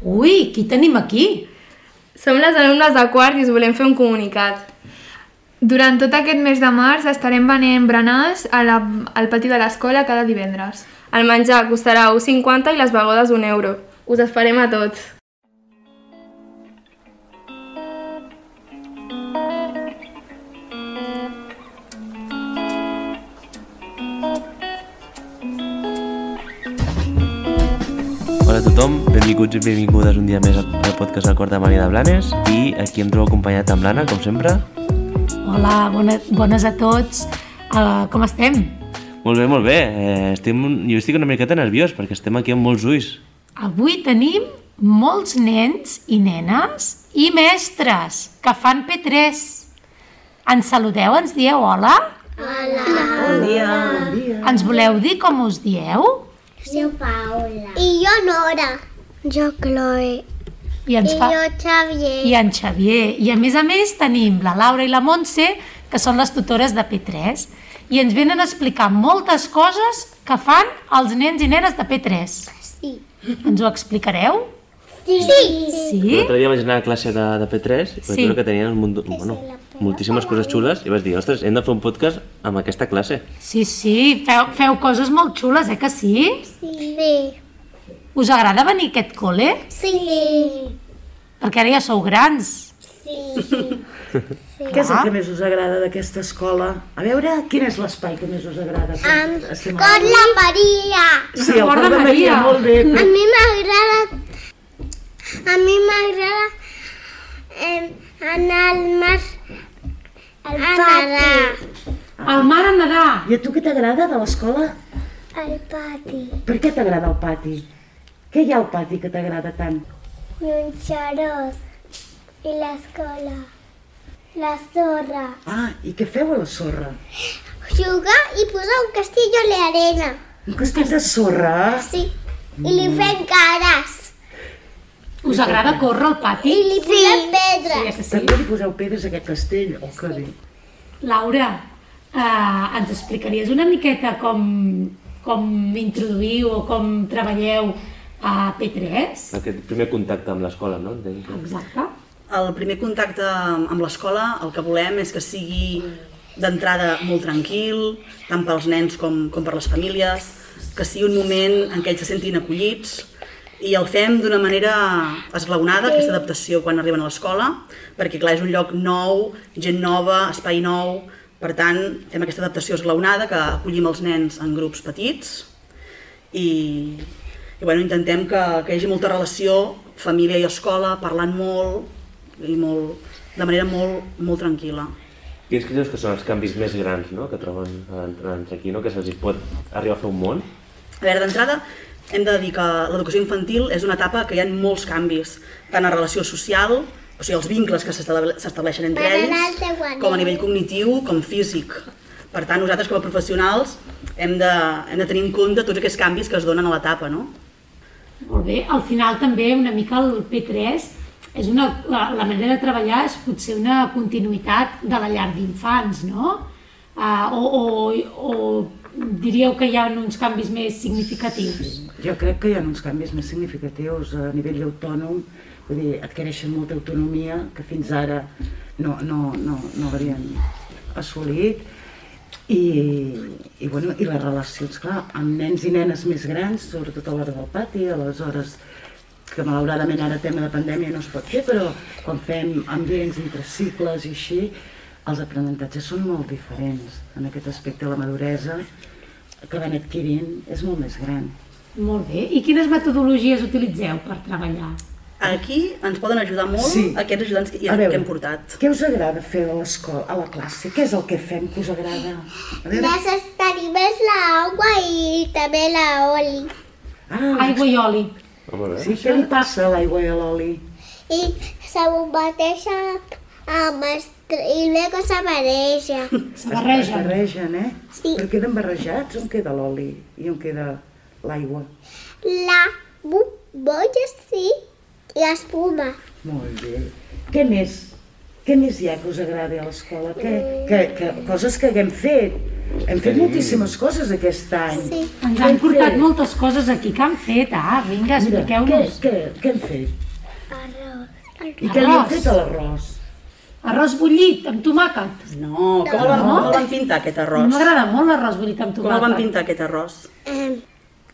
Ui, qui tenim aquí? Som les alumnes de quart i us volem fer un comunicat. Durant tot aquest mes de març estarem venent berenars a la, al pati de l'escola cada divendres. El menjar costarà 1,50 i les begodes un euro. Us esperem a tots. Hola a tothom, benvinguts i benvingudes un dia més al al podcast del Quart de Maria de Blanes i aquí em trobo acompanyat amb l'Anna, com sempre. Hola, bona, bones a tots. Uh, com estem? Molt bé, molt bé. Eh, estem, un- jo estic una miqueta nerviós perquè estem aquí amb molts ulls. Avui tenim molts nens i nenes i mestres que fan P3. Ens saludeu, ens dieu hola? Hola. Bon dia. Ens voleu dir com us dieu? Jo Paula. I jo Nora. Jo Chloe. I ens I jo Xavier. I en Xavier. I a més a més tenim la Laura i la Montse, que són les tutores de P3, i ens venen a explicar moltes coses que fan els nens i nenes de P3. Sí. Ens ho explicareu? Sí. sí. Sí? L'altre dia vaig anar a classe de, de P3 i vaig Sí. veure que tenien un munt, bueno, moltíssimes coses xules i vaig dir, ostres, hem de fer un podcast amb aquesta classe. Sí, sí, feu, feu coses molt xules, eh que sí? Sí. Us agrada venir a aquest col·le? Sí. Perquè ara ja sou grans. Sí. Què és el que més us agrada d'aquesta escola? A veure, quin és l'espai que més us agrada? Amb aquesta setmana? Cor la Maria. Sí, el cor de Maria, Maria. molt bé. A mi m'agrada... A mi m'agrada eh, anar al mar a nedar. Al mar a nedar. I a tu què t'agrada de l'escola? Al pati. Per què t'agrada el pati? Què hi ha al pati que t'agrada tant? Llunxarós. I l'escola. La sorra. Ah, i què feu a la sorra? Jugar i posar un castillo a l'arena. Un castell de sorra? Sí. I li fem cares. Us agrada córrer al pati? I li posem pedres. Ja que sí. També li poseu pedres a aquest castell, oh que bé. Laura, eh, ens explicaries una miqueta com, com introduïu o com treballeu a P3? Aquest primer contacte amb l'escola, no? Entenc. Exacte. El primer contacte amb l'escola, el que volem és que sigui d'entrada molt tranquil, tant pels nens com, com per les famílies, que sigui un moment en què ells se sentin acollits i el fem d'una manera esglaonada, aquesta adaptació quan arriben a l'escola, perquè clar, és un lloc nou, gent nova, espai nou, per tant, fem aquesta adaptació esglaonada que acollim els nens en grups petits i, i bueno, intentem que, que hi hagi molta relació, família i escola, parlant molt i molt, de manera molt, molt tranquil·la. Quins creus que són els canvis més grans no? que troben entre, entre aquí, no? que se'ls hi pot arribar a fer un món? A veure, d'entrada, hem de dir que l'educació infantil és una etapa que hi ha molts canvis, tant a relació social, o sigui, els vincles que s'estable- s'estableixen entre Per anar al ells, teu anell. com a nivell cognitiu, com físic. Per tant, nosaltres com a professionals hem de, hem de tenir en compte tots aquests canvis que es donen a l'etapa, no? Molt bé. Al final també una mica el P3 és una, la, la manera de treballar és potser una continuïtat de la llar d'infants, no? Uh, o, o, o diríeu que hi ha uns canvis més significatius. Jo crec que hi ha uns canvis més significatius a nivell autònom, vull dir, adquireixen molta autonomia que fins ara no, no, no, no l'havien assolit i, i, bueno, i les relacions, clar, amb nens i nenes més grans, sobretot a l'hora del pati, a les hores que malauradament ara tema de pandèmia no es pot fer, però quan fem ambients entre cicles i així, els aprenentatges són molt diferents. En aquest aspecte la maduresa que van adquirint és molt més gran. Molt bé. I quines metodologies utilitzeu per treballar? Aquí ens poden ajudar molt Sí. aquests ajudants que, A veure, que hem portat. Què us agrada fer a l'escola, a la classe? Què és el que fem que us agrada? A veure... Las taribes, la agua y también la oli. Ah, Aigua i oli. Ah, molt bé. sí, què li passa a l'aigua i a l'oli? Y se bombateja amb els tre- i luego se mareja. Se Es barregen. barregen, eh? Sí. Però queden barrejats? On queda l'oli i on queda l'aigua? La bombolla sí i espuma. Molt bé. Què més? Què més hi ha que us agradi a l'escola? Que, que, que, coses que haguem fet, Hem fet moltíssimes coses aquest any. Sí. Ens Què han hem portat fet? moltes coses aquí que han fet, ah, vinga, Mira, què, expliqueu-nos. què, què hem fet? Arròs. I què li hem Arròs. fet a l'arròs? Arròs bullit amb tomàquet. No, com el van, com el van pintar aquest A mi arròs? M'agrada molt l'arròs bullit amb Com el van tomàquet. pintar aquest arròs? Em,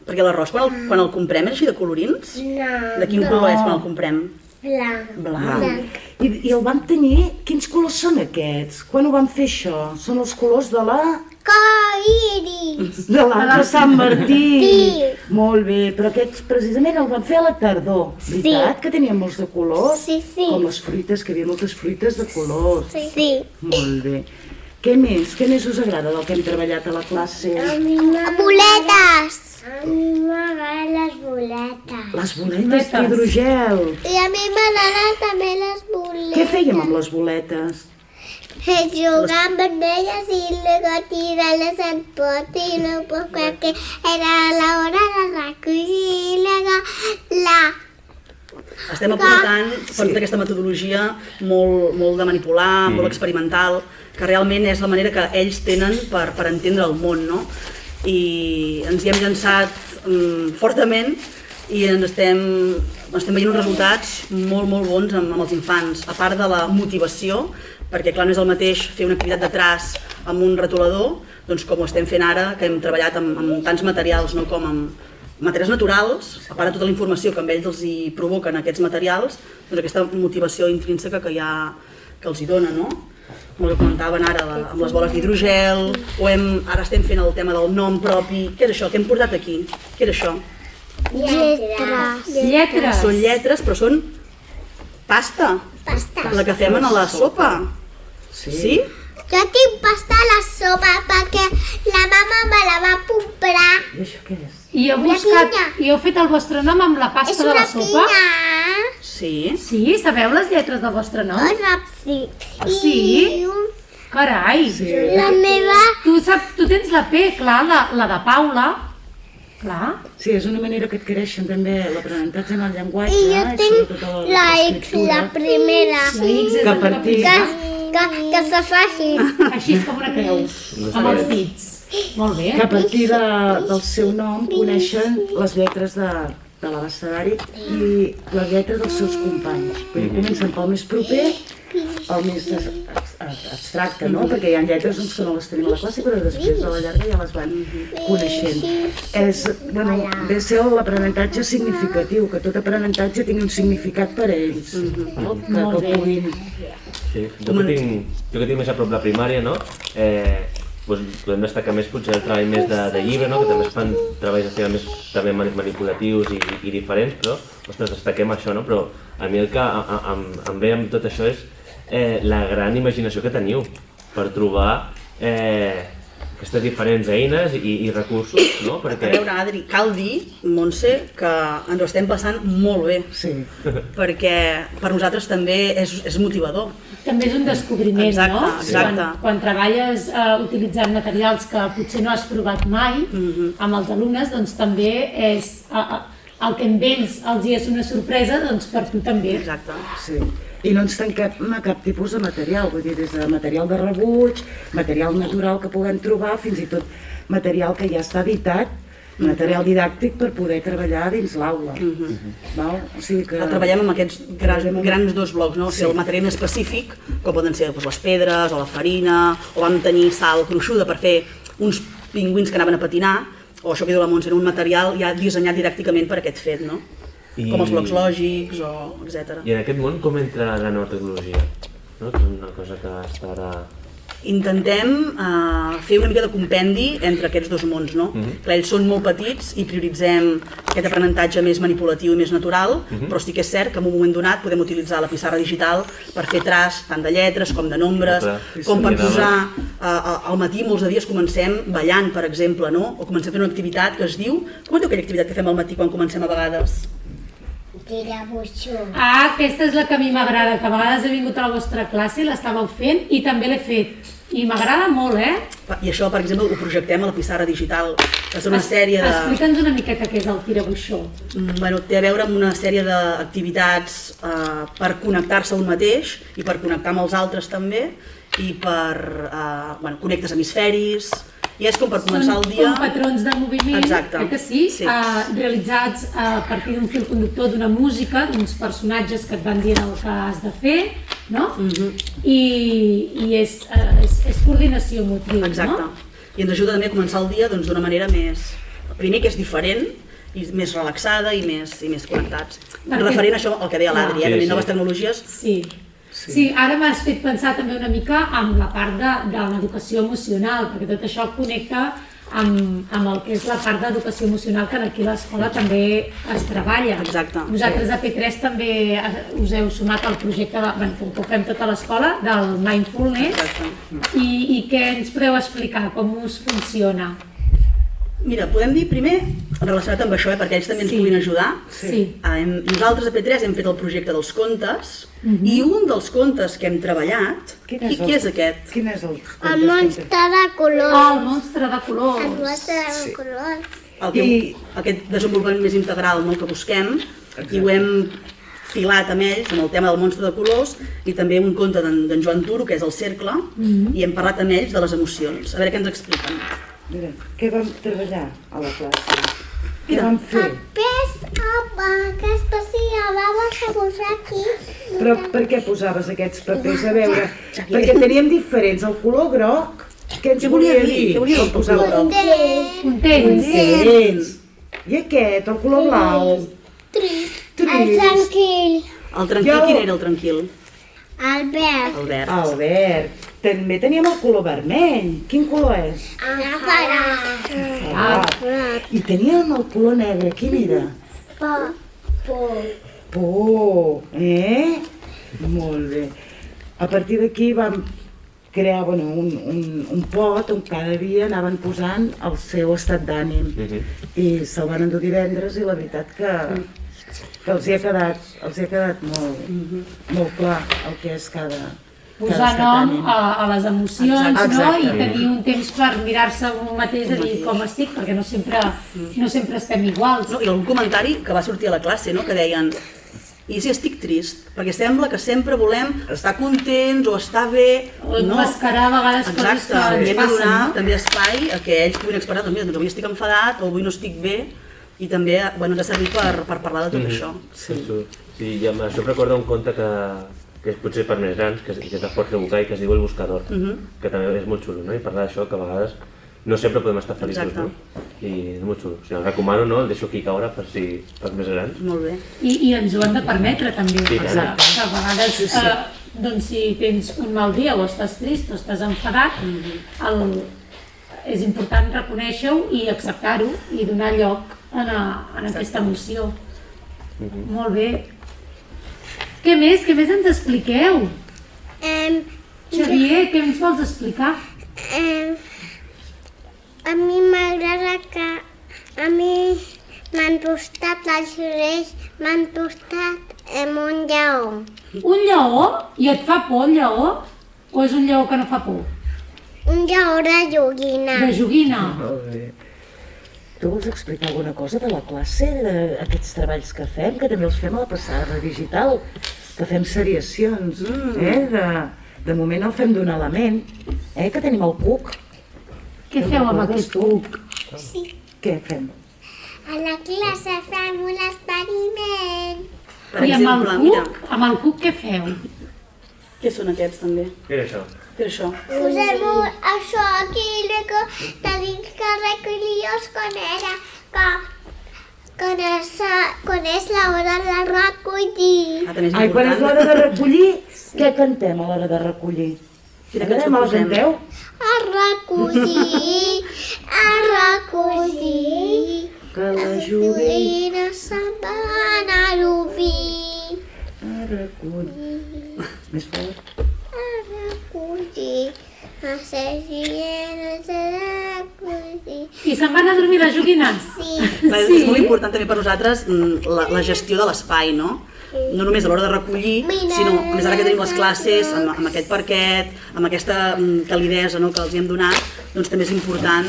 Perquè l'arròs, quan, el, quan el comprem, és així de colorins? no, De quin color és quan el comprem? blanc. Blanc. I, I el vam tenir... Quins colors són aquests? Quan ho vam fer això? Són els colors de la... Coiris. De la de Sant Martí. Sí. Molt bé, però aquests precisament el van fer a la tardor. Veritat que tenien molts de colors? Sí, sí. Com les fruites, que hi havia moltes fruites de colors. Sí. sí. Molt bé. Què més? Què més us agrada del que hem treballat a la classe? Boletes. A mi m'agraden les boletes. Les boletes d'hidrogel. I a mi m'agraden també les boletes. Què fèiem amb les boletes? Eh, Jugar amb elles i luego tirarles al pot i luego perquè era la hora de recollir i luego la... Estem aportant per tota aquesta metodologia molt, molt de manipular, molt experimental, que realment és la manera que ells tenen per, per entendre el món, no? I ens hi hem llançat mm, fortament i ens estem, estem veient uns resultats molt, molt bons amb, amb els infants, a part de la motivació, perquè clar, no és el mateix fer una activitat de traç amb un retolador, doncs com ho estem fent ara, que hem treballat amb, amb tants materials no? com amb, materials naturals, a part de tota la informació que amb ells els hi provoquen aquests materials, doncs aquesta motivació intrínseca que hi ha, que els hi dona, no? Com el que comentaven ara, la, amb les boles d'hidrogel, o hem, ara estem fent el tema del nom propi, què és això? Què hem portat aquí? Què era això? Lletres. Lletres. Són lletres, però són pasta, Pasta. la que fem a la sopa. Sí? sí? Jo tinc pasta a la sopa perquè la mama me la va comprar. I això què és? I heu Una buscat, pinya. i heu fet el vostre nom amb la És pasta de una la sopa? pinya. Sí. Sí, sabeu les lletres del vostre nom? És una sí. ¿Ah, Sí? I un- Carai! la meva... Tu, saps, tu tens la P, clar, la, la de Paula. Clar. Sí, és una manera que adquireixen també l'aprenentatge en el llenguatge. I jo eh, tinc sobretot la X, la primera. X és Que la per teva ti. Que, prima. que, que se faci. Així és com una creu, amb els dits. Molt bé. Que a partir de, del seu nom coneixen les lletres de, de l'abecedari i les lletres dels seus companys. Vull dir, comencen pel més proper el més es- es- es- abstracte, no? Perquè hi ha lletres doncs, que no les tenim a la classe, però després de la llarga ja les van coneixent. És, bueno, ve a ser l'aprenentatge significatiu, que tot aprenentatge tingui un significat per a ells, no? que, que el puguin Sí, jo que, tinc, jo que tinc més a prop la primària, no? Eh, doncs podem destacar més potser el treball més de, de llibre, no? que també es fan treballs al final més també mani- manipulatius i, i diferents, però ostres, destaquem això, no? Però a mi el que a, a, em, em ve amb tot això és eh, la gran imaginació que teniu per trobar eh, aquestes diferents eines i, i recursos, no? A Perquè veure, Adri, cal dir, Montse, que ens ho estem passant molt bé. Sí. perquè per nosaltres també és, és motivador. També és un descobriment, Exacte, no? exacte. Quan, quan treballes eh, utilitzant materials que potser no has provat mai Mhm. amb els alumnes, doncs també és eh, eh, el que amb ells els hi és una sorpresa, doncs per tu també. Exacte. Sí. I no ens tanquem a cap tipus de material, vull dir, des de material de rebuig, material natural que puguem trobar, fins i tot material que ja està editat, material didàctic per poder treballar dins l'aula. Val? O sigui que... Ara treballem amb aquests grans, Treballem amb- grans dos blocs, no? O sigui, el material específic, com poden ser doncs, les pedres o la farina, o vam tenir sal gruixuda per fer uns pingüins que anaven a patinar, o això que diu la Montse, era un material ja dissenyat didàcticament per aquest fet, no? I- Com els blocs lògics o etc. I en aquest món com entra la nova tecnologia? No? Que és una cosa que està ara... intentem eh, fer una mica de compendi entre aquests dos mons, no? Mhm. Clar, ells són molt petits i prioritzem aquest aprenentatge més manipulatiu i més natural, Mhm. però sí que és cert que en un moment donat podem utilitzar la pissarra digital per fer traç tant de lletres com de nombres, Clar, com per sí, sí. posar eh, al matí molts de dies comencem ballant, per exemple, no? O comencem fent una activitat que es diu... Com es diu aquella activitat que fem al matí quan comencem a vegades? Tira butxó. Ah, aquesta és la que a mi m'agrada, que a vegades he vingut a la vostra classe i l'estàveu fent i també l'he fet. I m'agrada molt, eh? I això, per exemple, ho projectem a la pissarra digital, que són una sèrie de... Explica'ns una miqueta què és el tirabuixó. Mm, Bueno, té a veure amb una sèrie d'activitats eh, per connectar-se a un mateix i per connectar amb els altres també i per, eh, bueno, connectes hemisferis, i és com per començar Són el dia... com patrons de moviment, Exacte. eh que sí? Sí. Eh, realitzats a partir d'un fil conductor d'una música, d'uns personatges que et van dient el que has de fer, no? Mhm. I, i és, eh, és, és coordinació motriu, Exacte. no? I ens ajuda també a començar el dia doncs, d'una manera més... Primer que és diferent, i més relaxada i més, i més connectats. Perquè- Ah. Referent a això, el que deia l'Adri, eh? Sí, també sí. noves tecnologies, Sí. Sí. sí, ara m'has fet pensar també una mica amb la part de, de l'educació emocional, perquè tot això connecta amb, amb el que és la part d'educació emocional que aquí a l'escola també es treballa. Exacte, Vosaltres a P3 també eh, us heu sumat al projecte, de, bueno, que ho fem tota l'escola, del Mindfulness. Exacte. I, I què ens podeu explicar? Com us funciona? Mira, podem dir primer, relacionat amb això, eh, perquè ells també ens Sí. puguin ajudar. Sí. Ah, hem, nosaltres a P3 hem fet el projecte dels contes i un dels contes que hem treballat, Quin i és el- qui és aquest? Quin és el... Ah, El monstre de colors. Oh, el monstre de colors. El monstre de colors. El que, I- Aquest desenvolupament més integral no, que busquem i ho hem filat amb ells, amb el tema del monstre de colors i també un conte d'en d'en Joan Turo, que és el cercle, i hem parlat amb ells de les emocions. A veure què ens expliquen. Mira, què vam treballar a la classe? Què vam fer? Ah. Ves amb aquesta síl·laba que posar aquí. Però per què posaves aquests papers? A veure, perquè teníem diferents. El color groc, què ens Què volia dir? dir? Què volia dir Quan posava el color el Content, Contents? Contents. I aquest, el color blau. trist, el Trist. tranquil, El tranquil, Jo- quin era el tranquil? el verd, El verd. El verd. També teníem el color vermell. Quin color és? el farà, Ah, Forat. I teníem el color negre. Quin era? por, por, Por, eh? Molt bé. A partir d'aquí vam crear bueno, un, un, un pot on cada dia anaven posant el seu estat d'ànim Mhm. i se'l van endur divendres i la veritat que, que els, hi ha quedat, els hi ha quedat molt, molt clar el que és cada, cada Mhm. posar estat d'ànim. nom a, a les emocions, Exacte. no? I Exacte. tenir un temps per mirar-se a un mateix, a dir com estic, perquè no sempre, no sempre estem iguals. Mm. No, I algun comentari que va sortir a la classe, no? que deien i si estic trist, perquè sembla que sempre volem estar contents o estar bé, O no. mascarar a vegades coses Exacte, que i hem ens de donar passen. també espai a que ells puguin expressar, doncs mira, doncs avui estic enfadat o avui no estic bé, i també bueno, ens ha servit per, per parlar de Mm-hmm. tot això. Sí. sí i amb això em recorda un conte que, que és potser per més grans, que és, que és de Jorge Bucay, que es diu El buscador, que també és molt xulo, no? I parlar d'això, que a vegades no sempre podem estar feliços, Exacte. no? I és molt xulo. O sigui, el recomano, no? El deixo aquí caure per si per més grans. Molt bé. I, I ens ho hem de permetre també. Sí, perquè tant. que a vegades, eh, doncs si tens un mal dia o estàs trist o estàs enfadat, el, és important reconèixer-ho i acceptar-ho i donar lloc en, a, en aquesta emoció. Molt bé. Què més? Què més ens expliqueu? em, Xavier, què ens vols explicar? em, Eh, a mi m'agrada que, a mi m'han tostat els orells, m'han tostat amb un lleó. Un lleó? I et fa por el lleó? O és un lleó que no fa por? Un lleó de joguina. De joguina? Molt bé. Tu vols explicar alguna cosa de la classe, d'aquests treballs que fem, que també els fem a la passada digital, que fem seriacions, Mm. eh? De, de moment el fem d'un element, eh? Que tenim el cuc. Què feu amb aquest cuc? Què fem? A la classe fem un experiment. Per I amb el exemple, mira, cuc, amb el cuc què feu? què són aquests també? Què era això? Què és això? ah, Posem un- això aquí i després tenim que recollir-los quan era que quan és, quan és l'hora de recollir. Ah, també és Ai, quan és l'hora important. de recollir, què cantem a l'hora de recollir? Quina Quina cançó cançó me la posem? canteu? A recollir, a recollir. Que l'ajudi Jolina se'n va anar a l'obrir. a recollir. Més fort. A recollir, a ser llenes de recollir. I se'n van a dormir les joguines? Sí. Clar, és- És molt important també per nosaltres mm, la, la gestió de l'espai, no? No només a l'hora de recollir, Mira, sinó, a més ara que tenim les classes, amb, amb aquest parquet, amb aquesta mm, calidesa no, que els hi hem donat, doncs també és important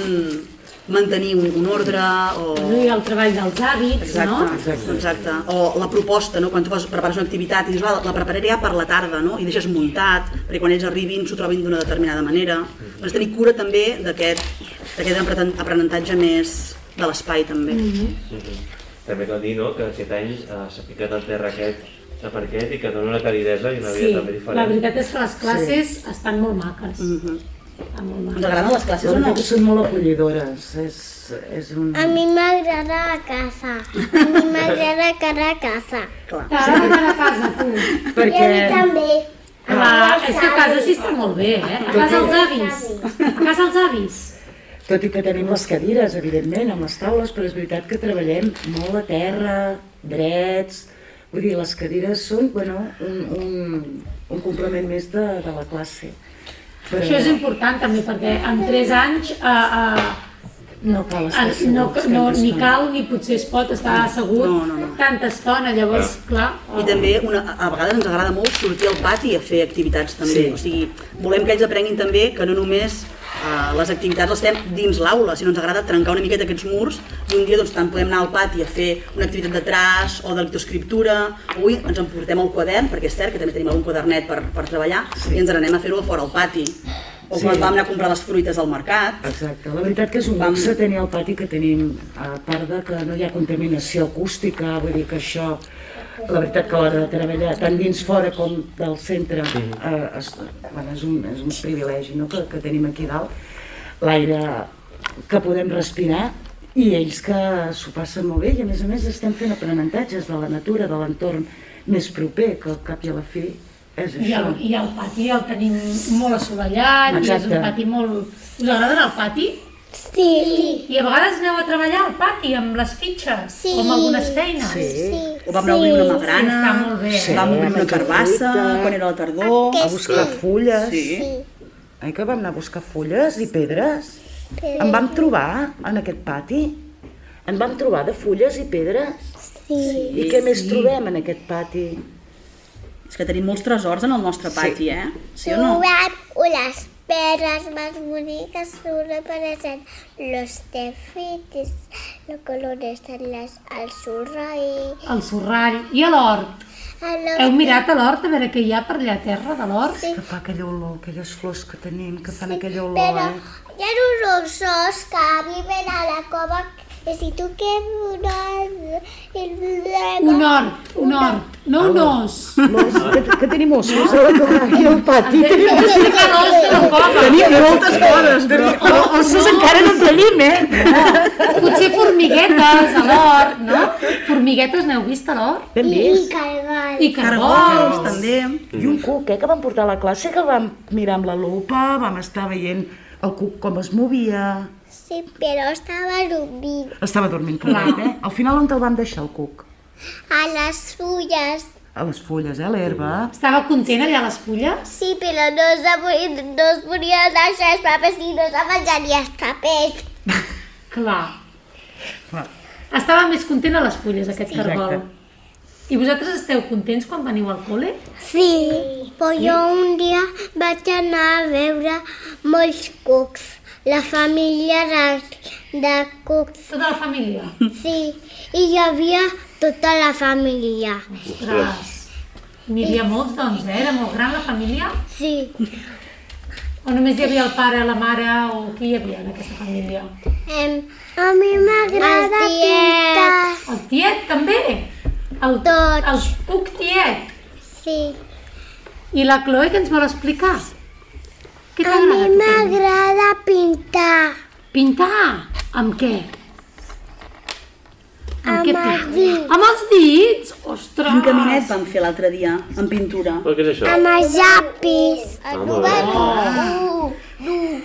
mantenir un, un ordre o... I el treball dels hàbits, no? exacte, exacte. O la proposta, no? quan tu fas, prepares una activitat i dius, va, la prepararé ja per la tarda, no? i deixes muntat, perquè quan ells arribin s'ho trobin d'una determinada manera. Doncs tenir cura també d'aquest d'aquest apreten- aprenentatge més de l'espai també. Mm. Mhm. També cal dir, no?, que a 7 anys eh, s'ha ficat al terra aquest de parquet i que dona una calidesa i una vida Sí, també diferent. la veritat és que les classes estan molt maques. Mhm. Estan molt Us maques. agraden les classes o La no? veritat són molt acollidores, és, és un... A mi m'agrada la casa. A mi m'agrada cara a casa. T'agrada anar a casa, tu? I a mi també. Ah, és que a casa sí està molt bé, eh? A casa els avis. A casa els avis. Tot i que tenim les cadires, evidentment, amb les taules, però és veritat que treballem molt a terra, drets... Vull dir, les cadires són, bueno, un, un, un complement més de, de la classe. Però Això és important també perquè en 3 anys eh, no cal eh, estar en- no, segurs no, tanta ni estona. cal ni potser es pot estar assegut No, no, no. tanta estona, llavors, clar... I també una, a vegades ens agrada molt sortir al pati a fer activitats també. Sí. O sigui, volem que ells aprenguin també que no només eh, les activitats les fem dins l'aula, sinó ens agrada trencar una miqueta aquests murs i un dia doncs, tant podem anar al pati a fer una activitat de traç o de lectoescriptura. Avui ens en portem el quadern, perquè és cert que també tenim algun quadernet per, per treballar, i ens n'anem a fer-ho a fora al pati. O quan Sí. vam anar a comprar les fruites al mercat, Exacte, la veritat que és un luxe tenir el pati que tenim, a part de que no hi ha contaminació acústica, vull dir que això, la veritat que a l'hora de treballar, tant dins fora com del centre, eh, és, bueno, és, un, és un privilegi no? que, que tenim aquí dalt, l'aire que podem respirar i ells que s'ho passen molt bé i a més a més estem fent aprenentatges de la natura, de l'entorn més proper, que al cap i a la fi és I el, això. I el pati el tenim molt assolellat, i és Exacte. un pati molt... Us agrada anar al pati? Sí. Sí. I a vegades aneu a treballar al pati amb les fitxes Sí. o amb algunes feines. sí. o vam anar a obrir una magrana, Està molt bé. Sí. vam obrir una carbassa, quan era la tardor... A buscar fulles. Sí. Ai, que vam anar a buscar fulles i pedres. Pedres. En vam trobar, en aquest pati. En vam trobar de fulles i pedres. Sí. I què més trobem en aquest pati? És que tenim molts tresors en el nostre pati, eh? Sí o no? Trobem unes peres más boniques sobre parecen los tefitis, los colores de las al surray. El sorrall i a l'hort. A Heu los mirat a l'hort a veure què hi ha per allà a terra de l'hort? Sí. Que fa aquella olor, aquelles flors que tenim, que fan aquella olor, Però eh? hi ha uns ossos que viven a la cova que si tu que una... Un hort, un hort, no Ah, un os. L'os, que, que tenim ossos a la cova, aquí al pati. Ah. Tenim, Heu d'explicar l'os de la cova. tenim moltes coses, però ossos encara no en tenim, eh? Potser formiguetes a l'hort, no? Formiguetes n'heu vist a l'hort? Ben I vist. cargol. I Cargols, cargols. també. I un cuc, eh, que vam portar a la classe, que el vam mirar amb la lupa, vam estar veient el cuc com es movia. Sí, però estava dormint Estava dormint, pobret, eh? Al final on te'l vam deixar, el cuc? a les fulles. A les fulles, eh, a l'herba. Estava content allà a les fulles? Sí, però no es, mori- no es volia deixar els papers i no se menjaria els papers. Clar. Clar. Estava més content a les fulles, aquest Sí. cargol. Exacte. I vosaltres esteu contents quan veniu al col·le? Sí, però jo un dia vaig anar a veure molts cucs. La família de, de cucs, Tota la família? sí. I hi havia tota la família. Ostres! N'hi havia molts, doncs, eh? Era molt gran la família? Sí. O només hi havia el pare, la mare o qui hi havia en aquesta família? Em, a mi m'agrada pintar. El tiet, també? El, Tots. El cuc tiet. Sí. I la Chloe, que ens vol explicar? Què A mi t'agrada? a tu? m'agrada pintar Pintar! Amb què? Amb, amb què els pintes? dits, Amb els dits! Ostres! Un caminet vam fer l'altre dia, amb pintura. Però què és això? amb els llapis. Ah, molt bé.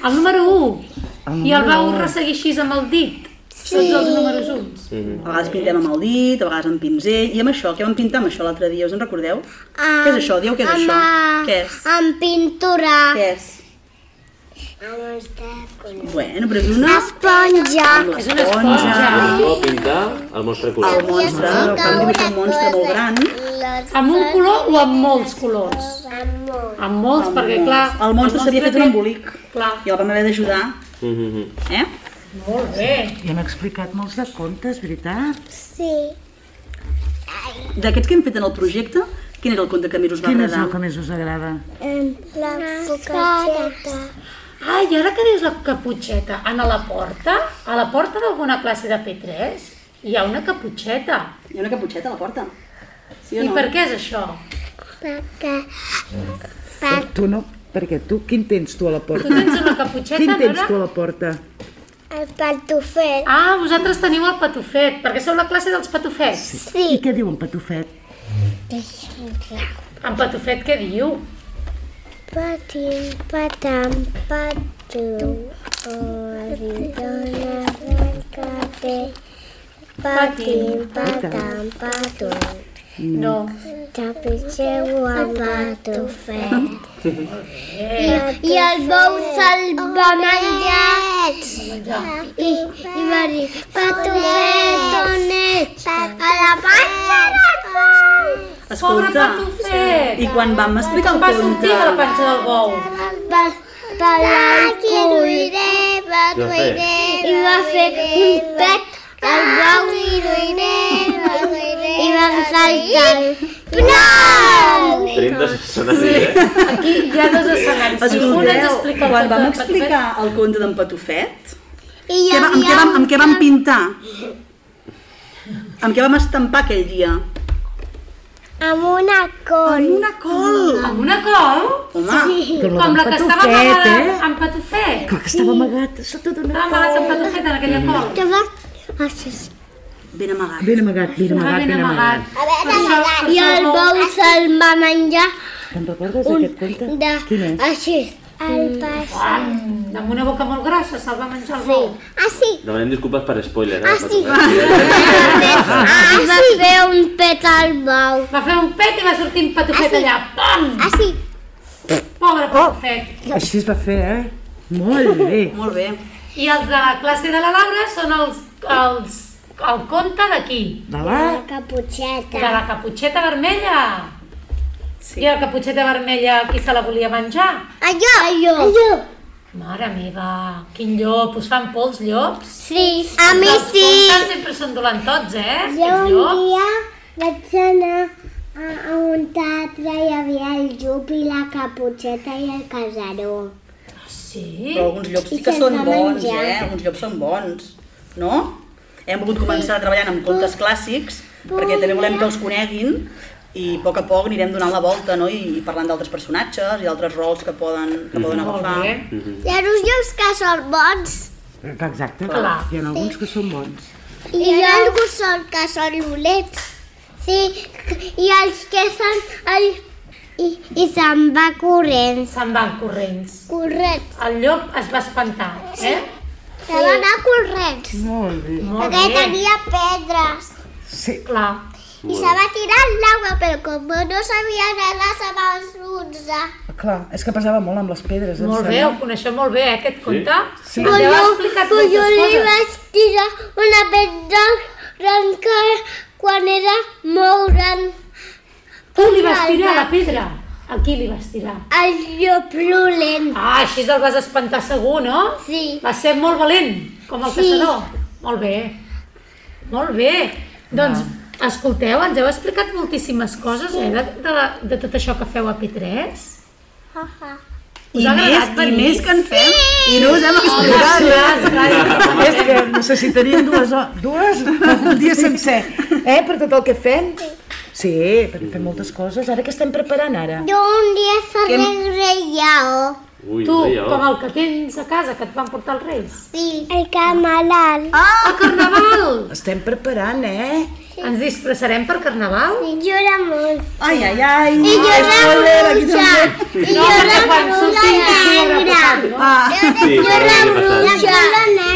El número 1. I el vau resseguir així amb el dit. Sí. Tots els números uns. A vegades pintem amb el dit, a vegades amb pinzell. I amb això, què vam pintar amb això l'altre dia? Us en recordeu? Ah. Què és això? Dieu què és amb, això. a- Què és? Amb pintura. Ah. Què és? Bueno, però és Una una... esponja. Amb l'esponja. Ah, vol pintar el monstre El color. monstre, vam dibuixar un monstre molt gran. Amb un color o amb molts colors? Amb molts, perquè clar... El monstre s'havia fet un embolic Clar. i el vam haver d'ajudar, Mhm, mhm. eh? Molt bé. I hem explicat molts de contes, veritat? Sí. D'aquests que hem fet en el projecte, quin era el conte que més us va Quin és agradar? el que més us agrada? Em, la cucatxeta. Ai, ara que dius la caputxeta, en a la porta, a la porta d'alguna classe de P3, hi ha una caputxeta. Hi ha una caputxeta a la porta. Sí o I no? per què és això? Perquè... Per, Eh, tu no, perquè tu, quin tens tu a la Tu porta? tens una caputxeta, Quin tens Nora? tu a la porta? El pantofel. Ah, vosaltres teniu el patufet, perquè sou la classe dels patufets. I Sí. què diu en Patufet? En patufet què diu? Patim, patam, patu. Dona branca bé. Patim, patam, patu. No. Tapitxeu el pantofel. I el bou se'l va menjar. I, i va dir, patufet, on ets? A la panxa del bou. Pobre Escolta, patufet! i quan vam explicar el Va sortir de la conte... panxa del bou. Va, per la cul. Què va fer? I va fer un pet al bou. I va saltar. No! Tenim dos escenaris, eh? Aquí hi ha dos escenaris. Escolteu, Un ens explica el conte quan vam del patufet. explicar el conte d'en Patufet, I hi què va, amb, què havia vam, amb què vam pintar? Amb què vam estampar aquell dia? amb una col. Amb una col! Amb una col? Home, Com la que estava amagada en patufet. eh?" Que estava amagat sota d'una Estava amagada en patufet en aquella col. Que va... Així. ben amagat. Ben amagat, ben Estava amagat, ben ben amagat. amagat. A veure, I el bou se'l va menjar Te'n recordes un d'aquest conte? de... Quin Ah, és? Així. El pas. Mm, Amb una boca molt grossa se'l va menjar el bou. Així. Demanem disculpes per spoiler, eh? Ah, sí. Patufet. I va fer un pet al bou. Va fer un pet i va sortir un Ah, patufet allà. Pam! Així. Pobre patufet. Així es va fer, eh? Molt bé. Molt bé. I els de la classe de la Laura són els... els el conte d'aquí, Va, va. de Caputxeta. la caputxeta vermella. Sí. I la caputxeta vermella, qui se la volia menjar? Allò. Allò. Allò. Mare meva, quin llop, us fan por els llops? Sí. A mi Els contes sempre són dolentots, eh? Jo Aquests un llops. dia vaig anar a, a un teatre i hi havia el Jup i la Caputxeta i el Casaró. Sí. Però alguns llops sí I que se'ls són va bons, menjar. eh? Alguns llops són bons, no? Hem volgut començar treballant amb contes clàssics, perquè també volem que els coneguin, i a poc a poc anirem donant la volta, no? I, i parlant d'altres personatges i d'altres rols que poden, que poden Mm-hmm. Molt agafar. bé. Hi ha uns llops que són bons Exacte. Clar. Hi ha alguns que són bons. i hi ha alguns són que són dolents. Sí, i els que són... El, I, i se'n va corrents. Se'n van corrents. Corrents. El llop es va espantar, eh? Se va anar corrents. Molt bé. Molt Perquè bé. tenia pedres. Sí. Clar. I se va tirar al l'aigua, però com no sabia nedar, se va enfonsar. Clar, és que pesava molt amb les pedres. em Molt bé, sembla. ho coneixeu molt bé, eh, aquest conte. Sí. Ens heu explicat però jo moltes li coses. vaig tirar una pedra branca quan era molt gran. Tu li vas tirar la pedra. A qui li vas tirar? El llop dolent. Ah, així el vas espantar segur, no? Sí. Va ser molt valent, com el Sí. caçador. Molt bé. Molt bé. Doncs, escolteu, ens heu explicat moltíssimes coses, eh, de, de, la, de tot això que feu a P3. I ha més, agradat i venir? més que en fem, i no us hem explicat. Gràcies, gràcies. És que necessitaríem dues, ho- dues un dia sencer, eh, per tot el que fem. Sí, perquè fem moltes coses. Ara que estem preparant, ara? Jo un dia seré rei lleó. Ui, Tu, veia, com oh. el que tens a casa, que et van portar els reis. Sí. El que malalt. Oh. A Carnaval! Estem preparant, eh? Ens disfressarem per Carnaval? Jo era molt. Ai, ai, ai. I jo era bruixa. I No, jo era perquè quan bruixa surti aquí haurà passat, negra. no? Ah, Sí, Jo ara era ja passat. bruixa.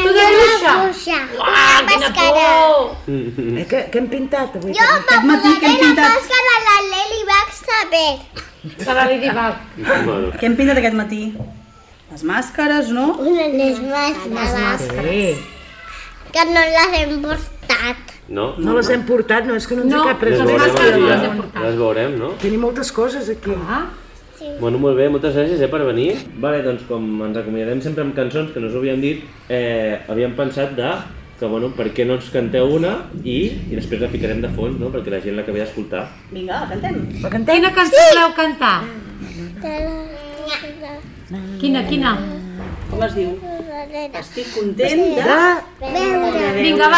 Tu de bruixa? bruixa. Ah, quina por! eh que, que hem pintat avui? Jo Aquest matí que m'apuntaré hem la pintat- màscara de la Leli vaig saber. Se la Lady Bug. Bueno, què hem pintat aquest matí? Les màscares, no? Una les màscares. Sí. Que no les hem portat. no? No les hem portat, no, és que no ens No. hi cap Les res. Les veurem màscares algun no dia. les hem portat. Les veurem, no? Tenim moltes coses aquí. Ah, Bueno, molt bé, moltes gràcies eh, per venir. Vale, doncs com ens acomiadem sempre amb cançons que no us ho havíem dit, eh, havíem pensat de que, bueno, per què no ens canteu una i, i després la ficarem de fons, no?, perquè la gent l'acabi d'escoltar. Vinga, cantem. La cantem? quina cançó voleu cantar? Quina, quina? Com es diu? Veure. Estic content de... Vinga, va. Molt bé. Vinga,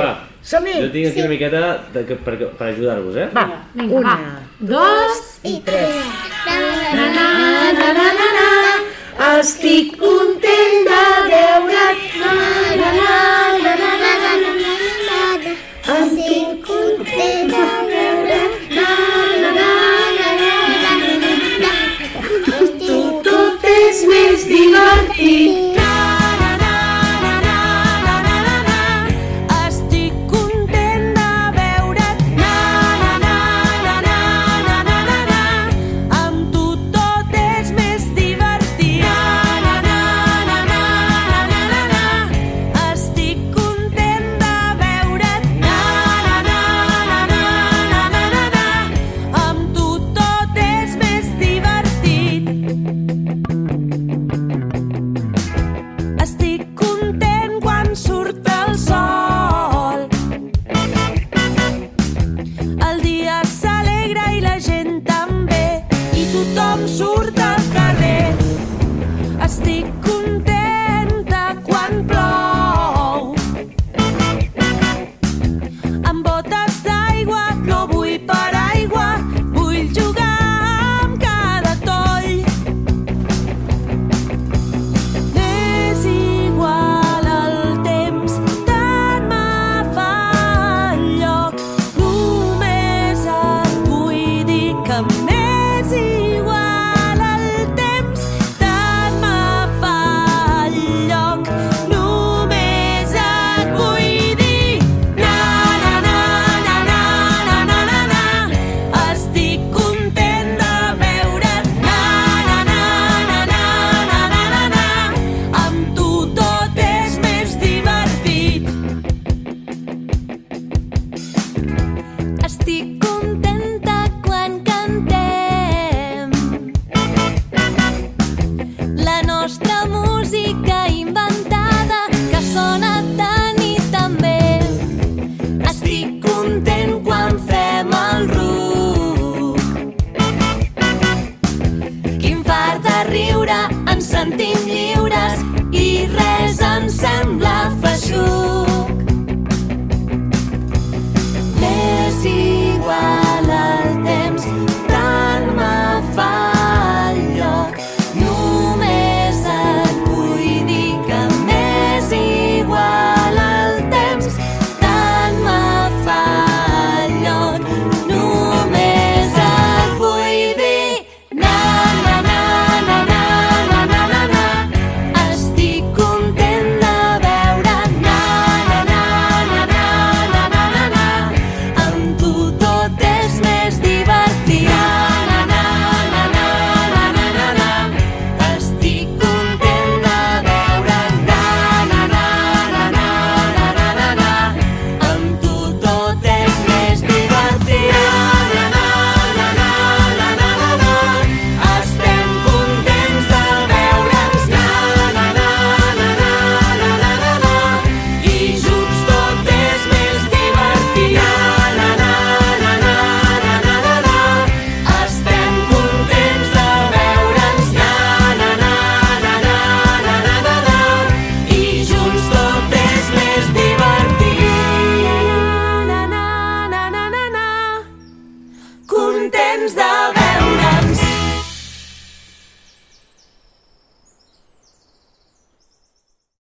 va. Som-hi. Jo tinc aquí una miqueta de, que- per, per ajudar-vos, eh? Va, Vinga, una, Dos, i tres. Estic content.